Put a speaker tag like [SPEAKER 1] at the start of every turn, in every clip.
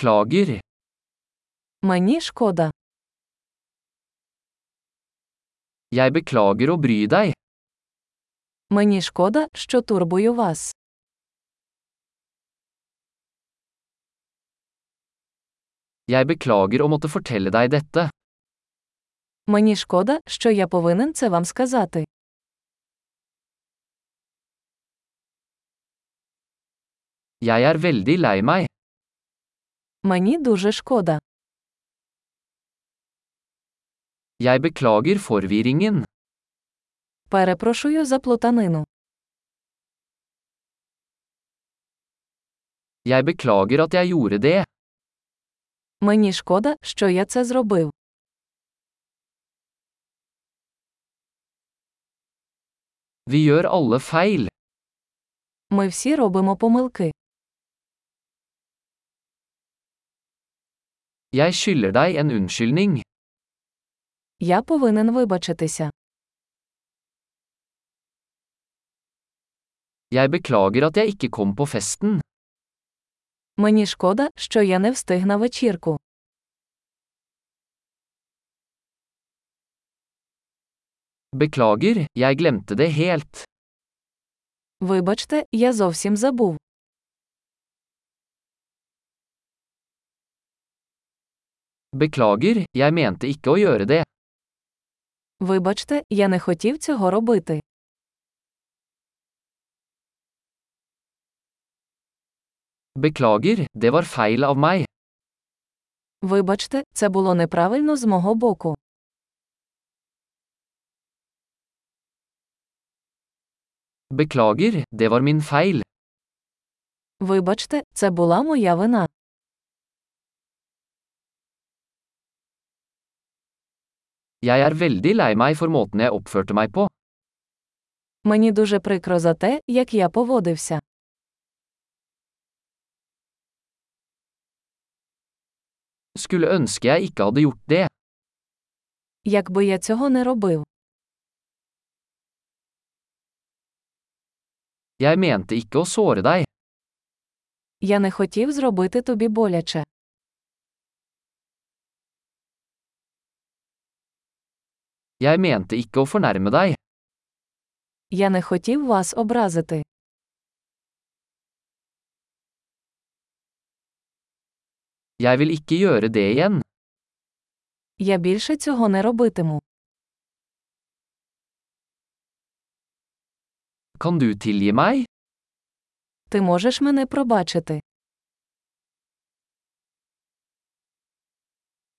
[SPEAKER 1] Beklager.
[SPEAKER 2] Мені шкода.
[SPEAKER 1] Jeg beklager å bry deg.
[SPEAKER 2] Мені шкода, що турбую вас.
[SPEAKER 1] Jeg beklager å måtte fortelle deg dette.
[SPEAKER 2] Мені шкода, що я повинен це вам сказати.
[SPEAKER 1] Jeg er veldig lei meg.
[SPEAKER 2] Мені дуже шкода.
[SPEAKER 1] Jeg beklager forvirringen.
[SPEAKER 2] Перепрошую за плутанину.
[SPEAKER 1] Jeg beklager at jeg gjorde det.
[SPEAKER 2] Мені шкода, що я це зробив.
[SPEAKER 1] Vi gjør alle feil.
[SPEAKER 2] Ми всі робимо помилки.
[SPEAKER 1] Jeg skylder deg en unnskyldning.
[SPEAKER 2] Я повинен вибачитися.
[SPEAKER 1] Jeg beklager at jeg ikke kom på festen.
[SPEAKER 2] Мені шкода, що я не встиг на вечірку.
[SPEAKER 1] Beklager, jeg glemte det helt.
[SPEAKER 2] Вибачте, я зовсім забув.
[SPEAKER 1] Beklager, jeg mente ikke å gjøre det.
[SPEAKER 2] Вибачте, я не хотів цього робити.
[SPEAKER 1] Beklager, det var feil av meg.
[SPEAKER 2] Вибачте, це було неправильно з мого боку.
[SPEAKER 1] Beklager, det var min feil.
[SPEAKER 2] Вибачте, це була моя вина.
[SPEAKER 1] Jeg er veldig lei meg for måten jeg oppførte meg på.
[SPEAKER 2] Мені дуже прикро за те, як я поводився.
[SPEAKER 1] Skulle ønske jeg ikke hadde gjort det.
[SPEAKER 2] Якби я цього не робив,
[SPEAKER 1] Jeg mente ikke å såre deg.
[SPEAKER 2] я не хотів зробити тобі боляче.
[SPEAKER 1] Jeg mente ikke å fornærme deg.
[SPEAKER 2] Я не хотів вас образити.
[SPEAKER 1] Jeg vil ikke gjøre det igjen.
[SPEAKER 2] Я більше цього не робитиму.
[SPEAKER 1] Kan du tilgi meg?
[SPEAKER 2] Ти можеш мене пробачити.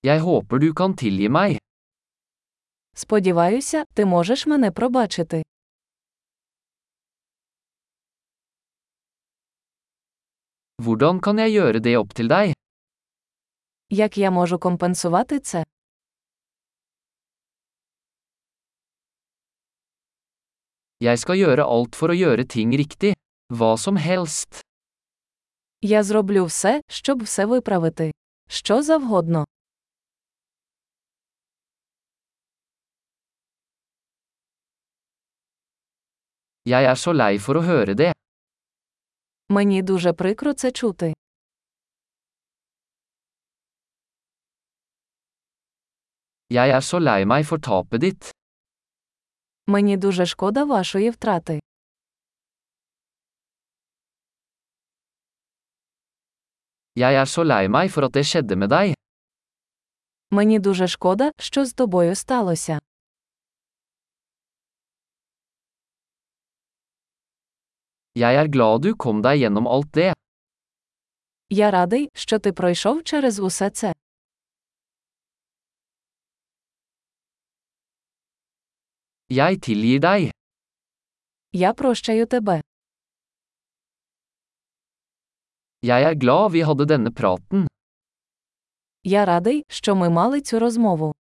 [SPEAKER 1] Jeg håper du kan tilgi meg.
[SPEAKER 2] Сподіваюся, ти можеш мене пробачити.
[SPEAKER 1] Hvordan kan jeg gjøre det opp til deg?
[SPEAKER 2] Як я можу компенсувати це?
[SPEAKER 1] Jeg skal gjøre alt for å gjøre ting riktig. Hva som helst.
[SPEAKER 2] Я зроблю все, щоб все виправити. Що завгодно.
[SPEAKER 1] Jeg er så lei for å høre det.
[SPEAKER 2] Мені дуже прикро це чути.
[SPEAKER 1] Jeg er så lei meg for tapet ditt.
[SPEAKER 2] Мені дуже шкода вашої втрати.
[SPEAKER 1] Jeg er så lei meg for at det skjedde med deg.
[SPEAKER 2] Мені дуже шкода, що з тобою сталося.
[SPEAKER 1] Jeg er glad du kom deg gjennom alt det.
[SPEAKER 2] Я радий, що ти пройшов через усе це.
[SPEAKER 1] Jeg tilgir deg.
[SPEAKER 2] Я прощаю тебе.
[SPEAKER 1] Jeg er glad vi hadde denne praten.
[SPEAKER 2] Я радий, що ми мали цю розмову.